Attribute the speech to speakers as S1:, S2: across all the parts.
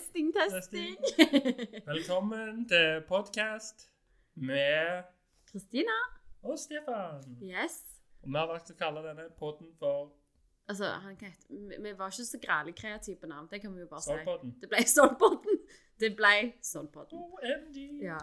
S1: Testing.
S2: Velkommen til podcast med
S1: Kristina.
S2: og Stefan.
S1: Yes.
S2: Og vi har valgt å kalle denne podden for
S1: Altså, han kan hete vi- Vi var ikke så grælig kreative på navn. Det kan vi jo bare si.
S2: Solpodden.
S1: Det ble Solpodden. Det ble Solpodden.
S2: OMG!
S1: Ja.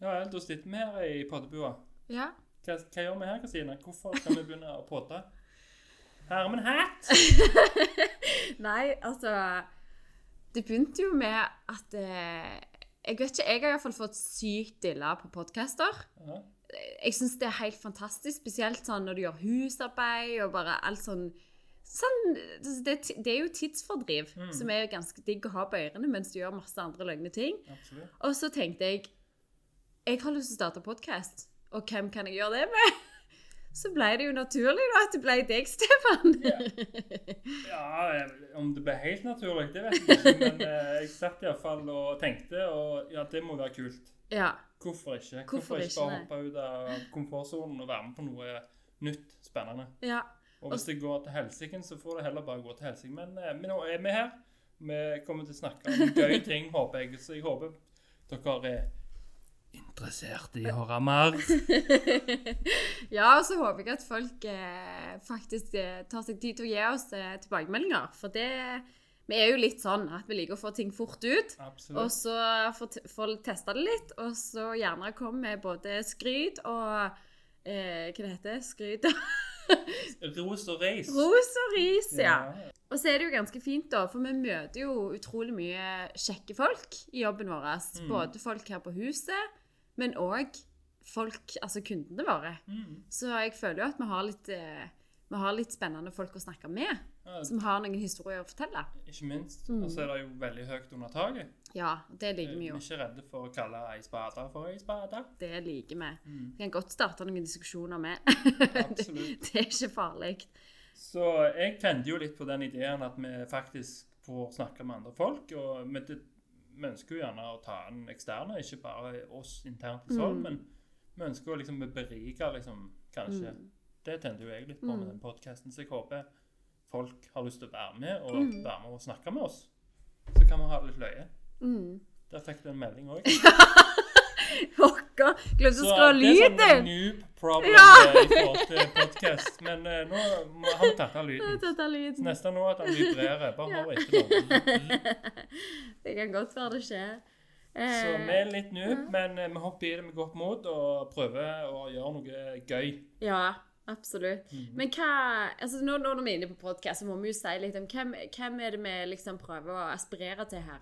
S2: Ja vel, da sitter vi her i poddebua.
S1: ja.
S2: Hva, hva gjør vi her, Kristine? Hvorfor skal vi begynne å podde? Hermen Hatt!
S1: Nei, altså Det begynte jo med at eh, Jeg vet ikke, jeg har iallfall fått sykt dilla på podcaster.
S2: Ja.
S1: jeg syns det er helt fantastisk, spesielt sånn når du gjør husarbeid og bare alt sånn Sånn, det, det er jo tidsfordriv,
S2: Mm.
S1: som er ganske digg å ha på ørene mens du gjør masse andre løgne ting.
S2: Absolutt.
S1: Og så tenkte jeg jeg har lyst til å starte podkast, og hvem kan jeg gjøre det med? Så ble det jo naturlig da at det ble deg, Stefan.
S2: Ja, eh, om det ble helt naturlig, det vet jeg ikke, men eh, jeg satt i hvert fall og tenkte, og ja, det må være kult.
S1: ja.
S2: Hvorfor ikke? Hvorfor,
S1: Hvorfor
S2: ikke
S1: ikke,
S2: bare
S1: nei?
S2: hoppe ut av komfortsonen og være med på noe nytt, spennende?
S1: ja.
S2: Og hvis det går til helsiken, så får det heller bare gå til helsiken. Men, eh, men nå er vi her. Vi kommer til å snakke om gøye ting, håper jeg. Så jeg håper dere er interessert i å høre mer.
S1: Ja, og så håper jeg at folk eh, faktisk eh, tar seg tid til å gi oss eh, tilbakemeldinger. For det, vi er jo litt sånn at vi liker å få ting fort ut. Og
S2: Absolutt.
S1: så få t- få testa det litt, og så gjerne komme med både skryt og eh, Hva det heter Skryt og
S2: Ros og reis.
S1: ros og ris, ja.
S2: Ja.
S1: Og så er det jo ganske fint, da, for vi møter jo utrolig mye kjekke folk i jobben vår.
S2: Mm.
S1: Både folk her på huset, men òg folk, altså kundene våre.
S2: Mm.
S1: Så jeg føler jo at vi har litt, eh, vi har litt spennende folk å snakke med,
S2: Ja,
S1: som har noen historier å fortelle.
S2: ikke minst.
S1: Mm.
S2: Og så er det jo veldig høyt under taket.
S1: Ja, det
S2: Vi
S1: liker vi
S2: er
S1: jo.
S2: ikke redde for å kalle ei spade for ei spade.
S1: Det liker vi.
S2: Mm.
S1: Vi kan godt starte noen diskusjoner med. det,
S2: Absolutt.
S1: det er ikke farlig.
S2: Så jeg kjente jo litt på den ideen at vi faktisk får snakke med andre folk. og men det- Vi ønsker jo gjerne å ta inn eksterne, ikke bare oss internt i Sol.
S1: Mm.
S2: Men vi ønsker å liksom berike, liksom, kanskje.
S1: Mm.
S2: Det tente jo jeg litt på med
S1: Mm.
S2: den podkasten, så jeg håper folk har lyst til å være med og
S1: Mm.
S2: være med og snakke med oss. Så kan vi ha det litt løye.
S1: Mm.
S2: Der fikk du en melding òg.
S1: Pokker! Glemte å
S2: Så
S1: skru av
S2: det er
S1: lyden!
S2: sånn noob problem
S1: Ja.
S2: eh, i forhold til podcast. Men eh, nå må han tatt av lyden.
S1: Dette er
S2: Så
S1: lyden.
S2: Nesten nå at han vibrerer. Bare hør etter nå.
S1: Det kan godt være det skjer.
S2: Så
S1: Eh,
S2: vi er litt noob, men eh, vi hopper i det med godt mot og prøver å gjøre noe gøy.
S1: Ja, absolutt.
S2: Mhm.
S1: Men hva altså nå, nå når vi er inne på podkast, så må vi jo si litt om hvem, hvem er det vi liksom prøver å aspirere til her?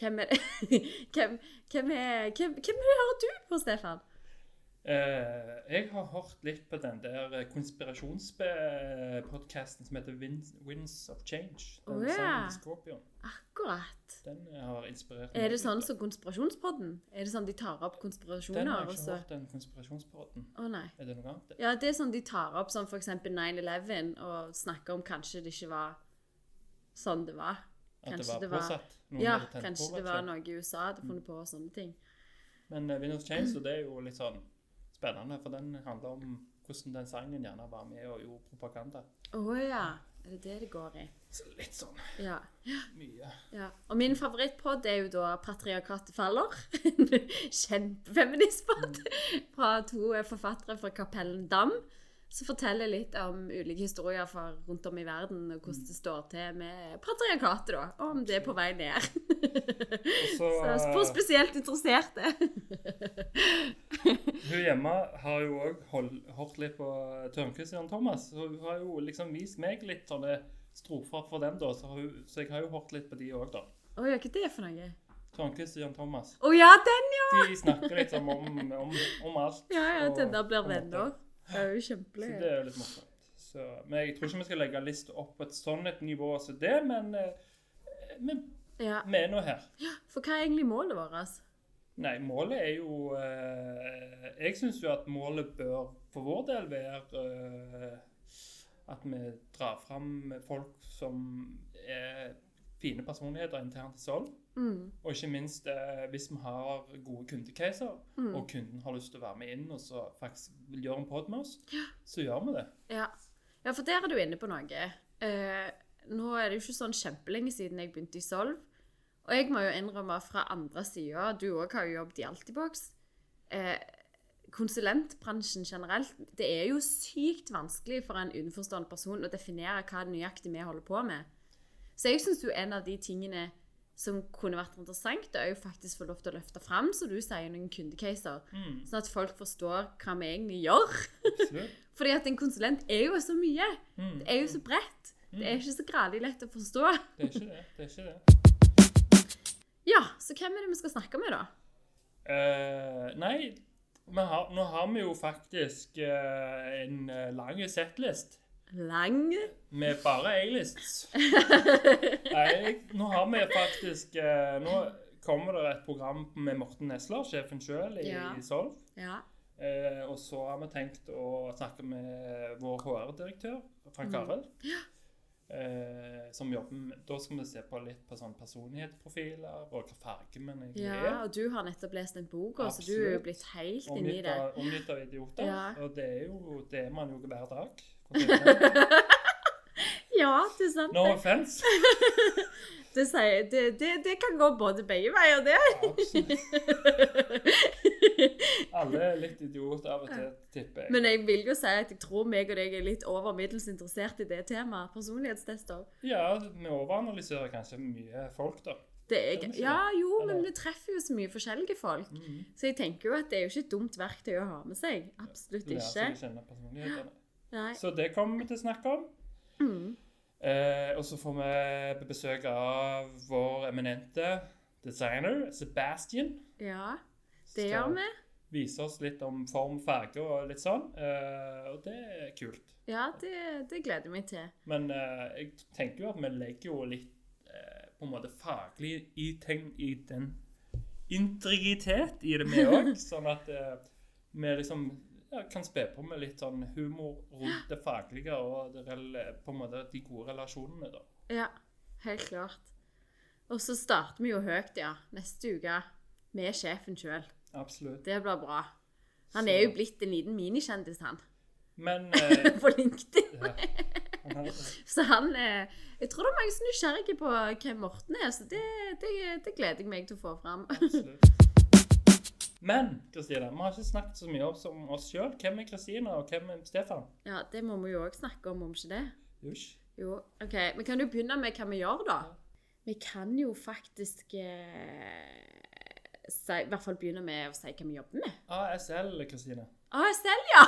S1: Hvem er det hvem, hvem, er, hvem, hvem hører du på, Stefan?
S2: Eh, jeg har hørt litt på den der eh, konspirasjonspodkasten som heter Winds, Winds of Change. Den
S1: Å, ja.
S2: sangen til Scorpion.
S1: Akkurat.
S2: Den har inspirert
S1: Er det
S2: litt.
S1: sånn som Konspirasjonspodden? Er det sånn de tar opp
S2: Den har
S1: konspirasjoner?
S2: jeg
S1: og
S2: ikke
S1: så...
S2: hørt, den konspirasjonspodden.
S1: Å nei.
S2: Er det noe annet?
S1: Ja, det er sånn de tar opp sånn f.eks. 9-11 og snakker om kanskje det ikke var sånn det var.
S2: At det
S1: Kanskje
S2: var
S1: det var-
S2: påsatt? Noen
S1: Ja,
S2: hadde tent på,
S1: kanskje
S2: rett
S1: det
S2: og
S1: var
S2: slett.
S1: noe i USA hadde funnet på og sånne ting.
S2: Men uh, Windows Change, så det er jo litt sånn spennende, for den handler om hvordan den sangen gjerne var med og gjorde propaganda.
S1: Å ja. Er det det det går i?
S2: Så litt sånn
S1: Ja.
S2: mye.
S1: ja. Og min favorittpod er jo da 'Patriarkatet faller'. En Kjempefeministpod fra to forfattere fra Kapellen Dam. Som forteller litt om ulike historier fra rundt om i verden, og hvordan det står til med patriarkatet, da. Og om det er på vei ned.
S2: Og så,
S1: Så spør spesielt interesserte.
S2: Hun hjemme har jo òg hørt litt på Tørnquist Jan Thomas. Så hun har jo liksom vist meg litt sånne strofer for dem, da. Så, hun, så jeg har jo hørt litt på de òg, da.
S1: Å, hva er det for noe?
S2: Tørnquist og Jan Thomas.
S1: Å ja, den, ja!
S2: De snakker liksom om, om, om alt.
S1: Ja, ja,
S2: og-
S1: den der blir
S2: på en måte.
S1: venner. Det er jo
S2: Så det
S1: kjempeløye.
S2: er jo litt morsomt. Så, men jeg tror ikke vi skal legge lista opp på et sånn et nivå som det, men eh, men
S1: Ja.
S2: vi er nå her.
S1: For hva er egentlig målet vårt? altså?
S2: Nei, målet er jo eh, Jeg syns jo at målet bør for vår del være eh, at vi drar fram folk som er fine personligheter internt i Sol.
S1: Mm.
S2: Og ikke minst eh, hvis vi har gode kundecaser,
S1: Mm.
S2: og kunden har lyst til å være med inn og så faktisk vil gjøre en pod med oss, så gjør vi det.
S1: Ja. ja, for der er du inne på noe. Eh, nå er det jo ikke sånn kjempelenge siden jeg begynte i Solv. Og Og jeg må jo innrømme fra andre sida, du òg har jo jobbet i Altibox eh, Konsulentbransjen generelt, det er jo sykt vanskelig for en utenforstående person å definere hva det nøyaktig vi holder på med. Så jeg syns jo en av de tingene som kunne vært interessant, det er jo faktisk få lov til å løfte fram, som du sier, noen kundecaser.
S2: Mm,
S1: Sånn at folk forstår hva vi egentlig gjør.
S2: absolutt.
S1: Fordi at en konsulent er jo så mye.
S2: Mm,
S1: Det er jo så bredt. Det er ikke så gradig lett å forstå.
S2: det er ikke det. det, er ikke det.
S1: Ja, så hvem er det vi skal snakke med, da?
S2: Eh, nei, men har, nå har vi jo faktisk eh, en eh, lang setlist
S1: Lang
S2: med bare A-lists. Nei, nå har vi faktisk eh, Nå kommer det et program med Morten Nesler, sjefen sjøl i,
S1: Ja.
S2: i Solv.
S1: Ja.
S2: Eh, og så har vi tenkt å snakke med vår HR-direktør, Frank
S1: Mm.
S2: Arild. Eh, som jobber med, Da skal vi se på litt på sånn personlighetsprofiler og hva fargen min egentlig er.
S1: ja, og du har nettopp lest den boka, så du er jo
S2: Absolutt.
S1: blitt helt inni
S2: Omgitt
S1: det.
S2: av, omgitt av idioter.
S1: Ja.
S2: Og det er jo det er man jo hver dag. for å si det sånn.
S1: Ja, det er sant.
S2: No
S1: det.
S2: offense.
S1: Det, sier, det, det, det kan gå både begge veier, det.
S2: Absolutt. Alle er litt idioter av og til, tipper jeg.
S1: Men jeg vil jo si at jeg tror meg og deg er litt over middels interessert i det temaet. Personlighetstester.
S2: Ja, vi overanalyserer kanskje mye folk, da.
S1: Det er,
S2: Kan vi si
S1: ja, jo, men
S2: Eller-
S1: vi treffer jo så mye forskjellige folk.
S2: Mhm.
S1: Så jeg tenker jo at det er jo ikke et dumt verktøy å ha med seg. Absolutt
S2: Lærer
S1: ikke.
S2: seg å kjenne personlighetene.
S1: Nei.
S2: Så det kommer vi til å snakke om.
S1: Mm.
S2: Eh, og så får vi besøk av vår eminente designer, Sebastian.
S1: Ja, det
S2: Skal
S1: gjør vi.
S2: Vise oss litt om form, farge og litt sånn. Eh, og det er kult.
S1: Ja, det, det gleder jeg meg til.
S2: Men eh, jeg tenker jo at vi legger jo litt eh, på en måte faglig i, ting, i den integritet i det vi òg, sånn at eh, vi liksom ja, kan spe på med litt sånn humor rundt det faglige og det, rel- på en måte de gode relasjonene, da.
S1: Ja, helt klart. Og så starter vi jo høyt, ja. Neste uke med sjefen sjøl.
S2: Absolutt.
S1: Det blir bra. Han
S2: Så-
S1: er jo blitt en liten minikjendis, han.
S2: Men eh,
S1: På LinkedIn.
S2: ja. Han har-
S1: Så han er Jeg tror det er mange som er nysgjerrige på hvem Morten er, så det, det, det gleder jeg meg til å få fram.
S2: Absolutt. Men Kristina, vi har ikke snakket så mye om- om oss sjøl. Hvem er Kristina, og hvem er Stefan?
S1: Ja, det må vi jo òg snakke om, om ikke det?
S2: Josj.
S1: Jo, ok. Vi kan jo begynne med hva vi gjør, da. Vi kan jo faktisk eh, si, I hvert fall begynne med å si hva vi jobber med.
S2: ASL, Kristina.
S1: ASL, ja!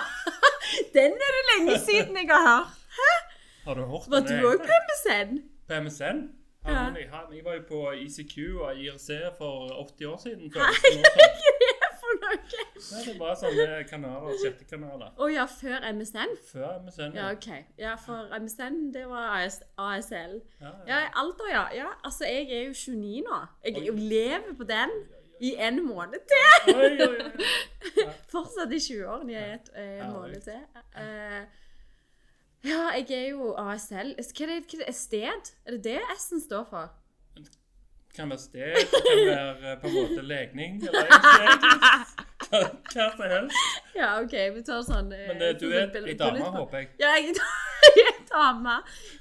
S1: Den er det lenge siden jeg har hørt.
S2: Har du hørt
S1: Var du
S2: den?
S1: òg på MSN?
S2: På MSN?
S1: Ja.
S2: Han, han, jeg var jo på ICQ og IRC for 80 år siden. føles det nå som.
S1: For noe?
S2: sånn. Nei, det var sånne kanaler, chattekanaler.
S1: Å ja, før MSN?
S2: Før MSN.
S1: Ja, OK. Ja, for MSN, det var AS, ASL.
S2: Ja, ja.
S1: Ja, alder, ja. ja. Altså, jeg er jo 29 nå. Jeg er jo lever på den i en måned til.
S2: Oi, oi, oi.
S1: Fortsatt i 20-årene i et- eh, en måned til. Eh, ja, jeg er jo ASL. Hva er det, hva er det sted? Er det det S-en står for?
S2: Kan være sted, kan være eh, på en måte legning, eller ikke, hva, hva som helst.
S1: Ja, OK, vi tar sånn eh,
S2: Men det, du
S1: for
S2: er
S1: eksempel
S2: ei dame,
S1: bullet-
S2: håper jeg.
S1: Ja, jeg jeg er dame.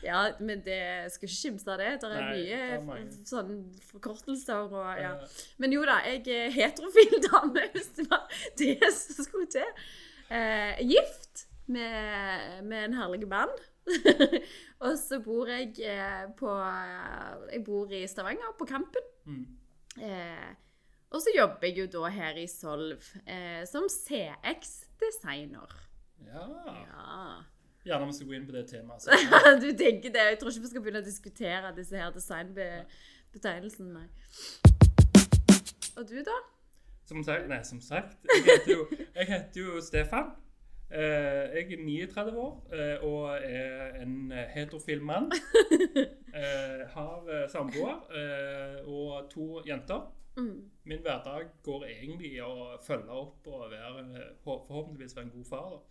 S1: Ja, men det jeg skal ikke kimse av det. Det er
S2: Nei, det er
S1: mye
S2: mange.
S1: f- sånn forkortelser og ja.
S2: Eh,
S1: Men jo da, jeg er heterofil dame, hvis det var det som skulle til. Eh, gift med, med en herlig mann. og så bor jeg eh, på eh, Jeg bor i Stavanger, på Kampen.
S2: Mm.
S1: Eh, og så jobber jeg jo da her i Solv eh, som CX-designer.
S2: Ja.
S1: Ja.
S2: Gjerne vi skal gå inn på det temaet. så.
S1: du tenker det. Jeg tror ikke vi skal begynne å diskutere disse her designbetegnelsene, nei. Og du, da?
S2: Som sagt, nei, som sagt. Jeg heter jo, jeg heter jo Stefan. Eh, jeg er 39 år eh, og er en eh, heterofil mann. Eh, har eh, samboer eh, og to jenter.
S1: Mm.
S2: Min hverdag går egentlig i å følge opp og være, eh, hå- forhåpentligvis være en god far. Da.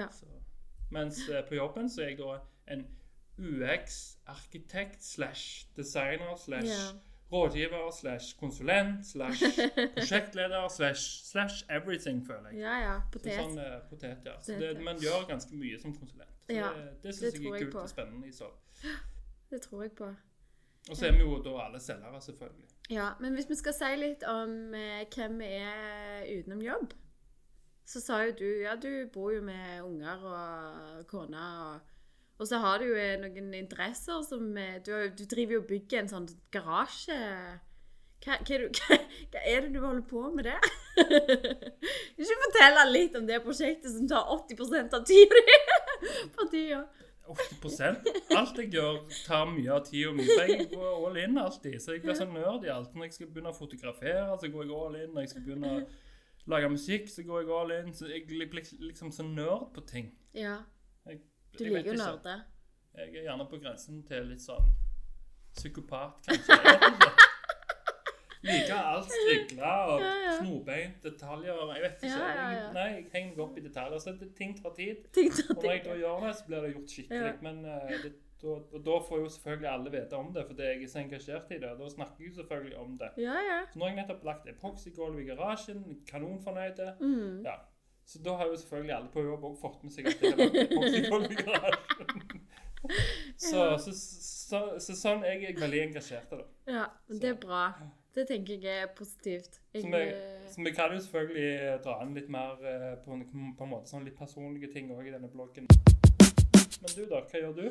S1: Ja.
S2: Så. Mens eh, på jobben så er jeg da en UX-arkitekt slash designer slash
S1: Ja.
S2: rådgiver slash konsulent slash prosjektleder slash slash everything, føler jeg.
S1: Ja, ja.
S2: Så
S1: Potet.
S2: sånn eh, potet, ja. Så
S1: Potet,
S2: det,
S1: ja.
S2: man gjør ganske mye som konsulent. Så
S1: Ja,
S2: det det
S1: det
S2: syns jeg
S1: tror
S2: er
S1: jeg
S2: kult
S1: på.
S2: og spennende. i Så.
S1: Det tror jeg på.
S2: Og så er vi jo da alle selgere, selvfølgelig.
S1: Ja, men hvis vi skal si litt om eh, hvem vi er utenom jobb, så sa jo du ja, du bor jo med unger og kone, og, og så har du jo eh, noen interesser som eh, Du, har jo- du driver jo og bygger en sånn garasje. Hva, hva, er du- hva, hva er det du holder på med der? Kan Ikke fortelle litt om det prosjektet som tar 80 av tida di. For tida.
S2: 80 Alt jeg gjør, tar mye av tida mi. For jeg går all in alltid. Så jeg blir så nerd i alt. Når jeg skal begynne å fotografere, så går jeg all in. Når jeg skal begynne å lage musikk, så går jeg all in. Så jeg blir liksom så nerd på ting.
S1: Ja,
S2: Jeg,
S1: du
S2: jeg vet
S1: liker jo
S2: ikke.
S1: nerder.
S2: Jeg er gjerne på grensen til litt sånn psykopat, kanskje. Jeg vet ikke. Liker alt strigla og
S1: Ja, ja.
S2: snorbeint, detaljer Jeg vet ikke.
S1: Ja, ja, ja.
S2: Jeg, nei, jeg henger meg opp i detaljer. Så det, ting tar tid.
S1: Ting tar
S2: Og når jeg
S1: tid.
S2: da gjør det, så blir det gjort skikkelig.
S1: Ja.
S2: Men eh, det, da, og da får jo selvfølgelig alle vite om det, fordi jeg er så engasjert i det. Da snakker jeg jo selvfølgelig om det.
S1: Ja, ja.
S2: Så nå har jeg nettopp lagt epoxygolv i garasjen. Kanonfornøyde.
S1: Mm.
S2: Ja. Så da har jo selvfølgelig alle på jobb også fått med seg at det har vært popsicle i garasjen. Så, så, så, så sånn er jeg veldig engasjert i det.
S1: Ja, men det er bra. Det tenker jeg er positivt. Jeg, eh,
S2: Så vi, så vi kan jo selvfølgelig dra inn litt mer eh, på en, på en måte sånn litt personlige ting òg i denne bloggen. Men du, da? Hva gjør du?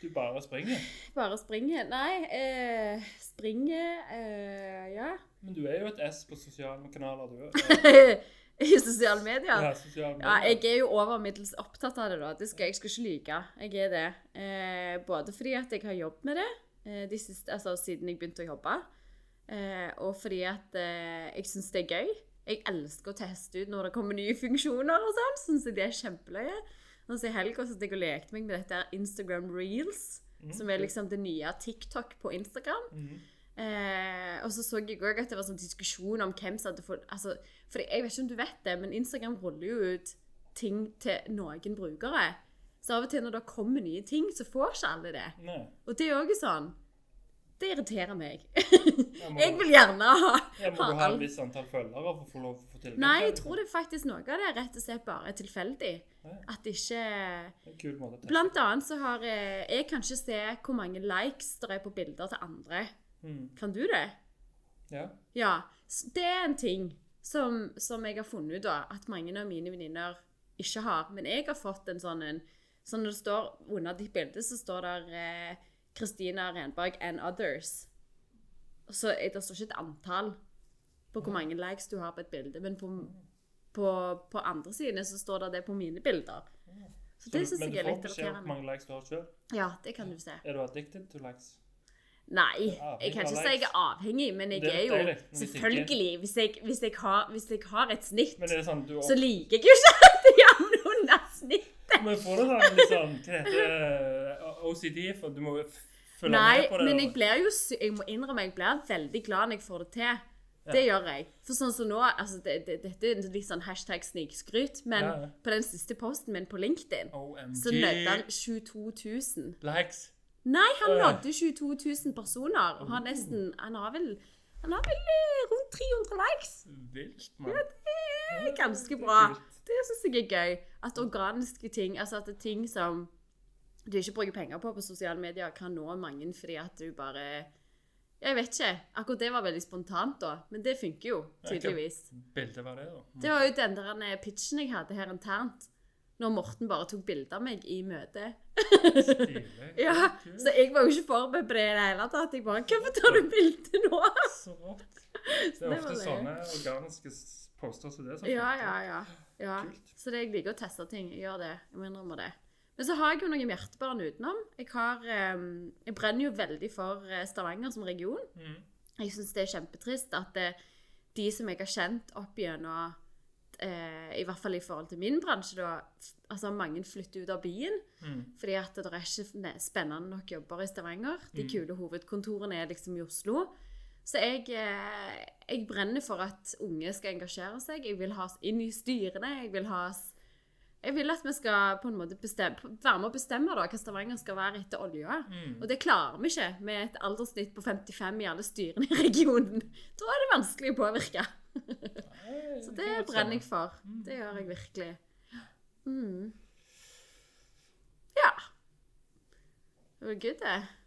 S2: Du bare springer.
S1: eh, bare springer. Nei, eh, springer eh, Ja.
S2: Men du er jo et S på sosiale kanaler, du. eh,
S1: I sosiale medier.
S2: Ja, sosiale
S1: Ja,
S2: medier.
S1: jeg er jo over middels opptatt av det, da. Det skal, jeg skal ikke lyve. Jeg er det. Eh, både fordi at jeg har jobbet med det eh, de siste, altså, siden jeg begynte å jobbe, eh, og fordi at eh, jeg syns det er gøy. Jeg elsker å teste ut når det kommer nye funksjoner og sånn. Syns jeg det er kjempeløye. Og så I helga satt jeg og lekte meg med dette her Instagram reels,
S2: Mhm.
S1: som er liksom det nye TikTok på Instagram.
S2: Mhm.
S1: Eh, og så så jeg òg at det var sånn diskusjon om hvem som hadde fått altså, For jeg vet ikke om du vet det, men Instagram ruller jo ut ting til noen brukere. Så av og til når det kommer nye ting, så får ikke alle det.
S2: Nei.
S1: Og det er òg sånn Det irriterer meg.
S2: må-
S1: jeg vil gjerne ha,
S2: Jeg må
S1: ha
S2: jo ha
S1: alt.
S2: et visst antall følgere for å få lov til å få tilgang.
S1: Nei, jeg tror det er faktisk noe av det er rett og slett bare tilfeldig.
S2: Ja.
S1: At det ikke
S2: det er en kul måte å teste.
S1: Blant annet så har eh, jeg kan ikke se hvor mange likes det er på bilder til andre.
S2: Mhm.
S1: Kan du det?
S2: Ja.
S1: Ja, s- det er en ting som, som jeg har funnet ut da, at mange av mine venninner ikke har. Men jeg har fått en sånn en Så når det står under ditt bilde, så står der eh, Kristina Renberg and others. Og så er- det står ikke et antall på hvor mange likes du har på et bilde, men på, på, på andre sidene så står det det på mine bilder. Så det
S2: Så-
S1: syns jeg er litt
S2: Men du får beskjed om hvor
S1: irriterende.
S2: mange likes du har selv.
S1: Ja, det kan du se.
S2: Er du addicted to likes?
S1: Nei,
S2: Ja,
S1: jeg kan ikke
S2: avhengig av
S1: si jeg er
S2: likes.
S1: avhengig, men jeg
S2: Det er
S1: er jo
S2: deilig, men hvis ikke-
S1: Selvfølgelig. Hvis jeg, hvis jeg, har, hvis jeg har et snitt,
S2: Men er det sånn du
S1: så liker jeg jo ikke at de havner under snitt.
S2: Men får du sånn litt sånn Hva heter det? eh, OCD? For du må jo f- følge
S1: Nei,
S2: med på det.
S1: men
S2: da.
S1: jeg blir jo sy- Jeg må innrømme, jeg blir veldig glad når jeg får det til. Det gjør jeg. For sånn som nå altså det, det, Dette er litt sånn hashtag snikskryt, men
S2: Ja, ja.
S1: på den siste posten min på LinkedIn så nådde han
S2: OMG.
S1: 22 000.
S2: Likes.
S1: Nei, han
S2: Å, ja.
S1: nådde 22 000 personer. Og har nesten Han har vel Han har vel eh, rundt 300 likes.
S2: Vilt, mann.
S1: Det er ganske bra. Det syns jeg er gøy. At organiske ting, altså at det er ting som du ikke bruker penger på på sosiale medier, kan nå mange fordi at du bare Jeg vet ikke. Akkurat det var veldig spontant, da. Men det funker jo, tydeligvis.
S2: Bilde var det, da. Mm.
S1: Det var jo den der eh, pitchen jeg hadde her internt. Når Morten bare tok bilde av meg i møtet.
S2: Stilig.
S1: Ja,
S2: Kult.
S1: Så jeg var jo ikke forberedt på det i det hele tatt. Jeg bare Hvorfor tar du bilde nå?
S2: Så rått. Det
S1: det
S2: er
S1: var
S2: ofte
S1: det.
S2: sånne organiske s- poster som det. sånn som
S1: Ja,
S2: funker.
S1: ja, ja. ja.
S2: Kult.
S1: Så det, jeg liker å teste ting. Jeg gjør det. Jeg må innrømme det. Men så har jeg jo noen hjertebarn utenom. Jeg, har, ehm, jeg brenner jo veldig for eh, Stavanger som region.
S2: Mhm.
S1: Jeg syns det er kjempetrist at eh, de som jeg har kjent opp gjennom eh, I hvert fall i forhold til min bransje, da. f- Altså mange flytter ut av byen.
S2: Mhm.
S1: Fordi at det er ikke ne- spennende nok jobber i Stavanger. De
S2: Mm.
S1: kule hovedkontorene er liksom i Oslo. Så jeg, eh, jeg brenner for at unge skal engasjere seg. Jeg vil ha oss inn i styrene. Jeg vil, ha oss, jeg vil at vi skal på en måte bestemme, være med å bestemme da, hva Stavanger skal være etter olja.
S2: Mhm.
S1: Og det klarer vi ikke med et alderssnitt på 55 i alle styrene i regionen. Da er det vanskelig å påvirke.
S2: Nei,
S1: Så det
S2: kult,
S1: brenner jeg
S2: sånn.
S1: for. Det gjør jeg virkelig. Mm. Ja. Det var good, det.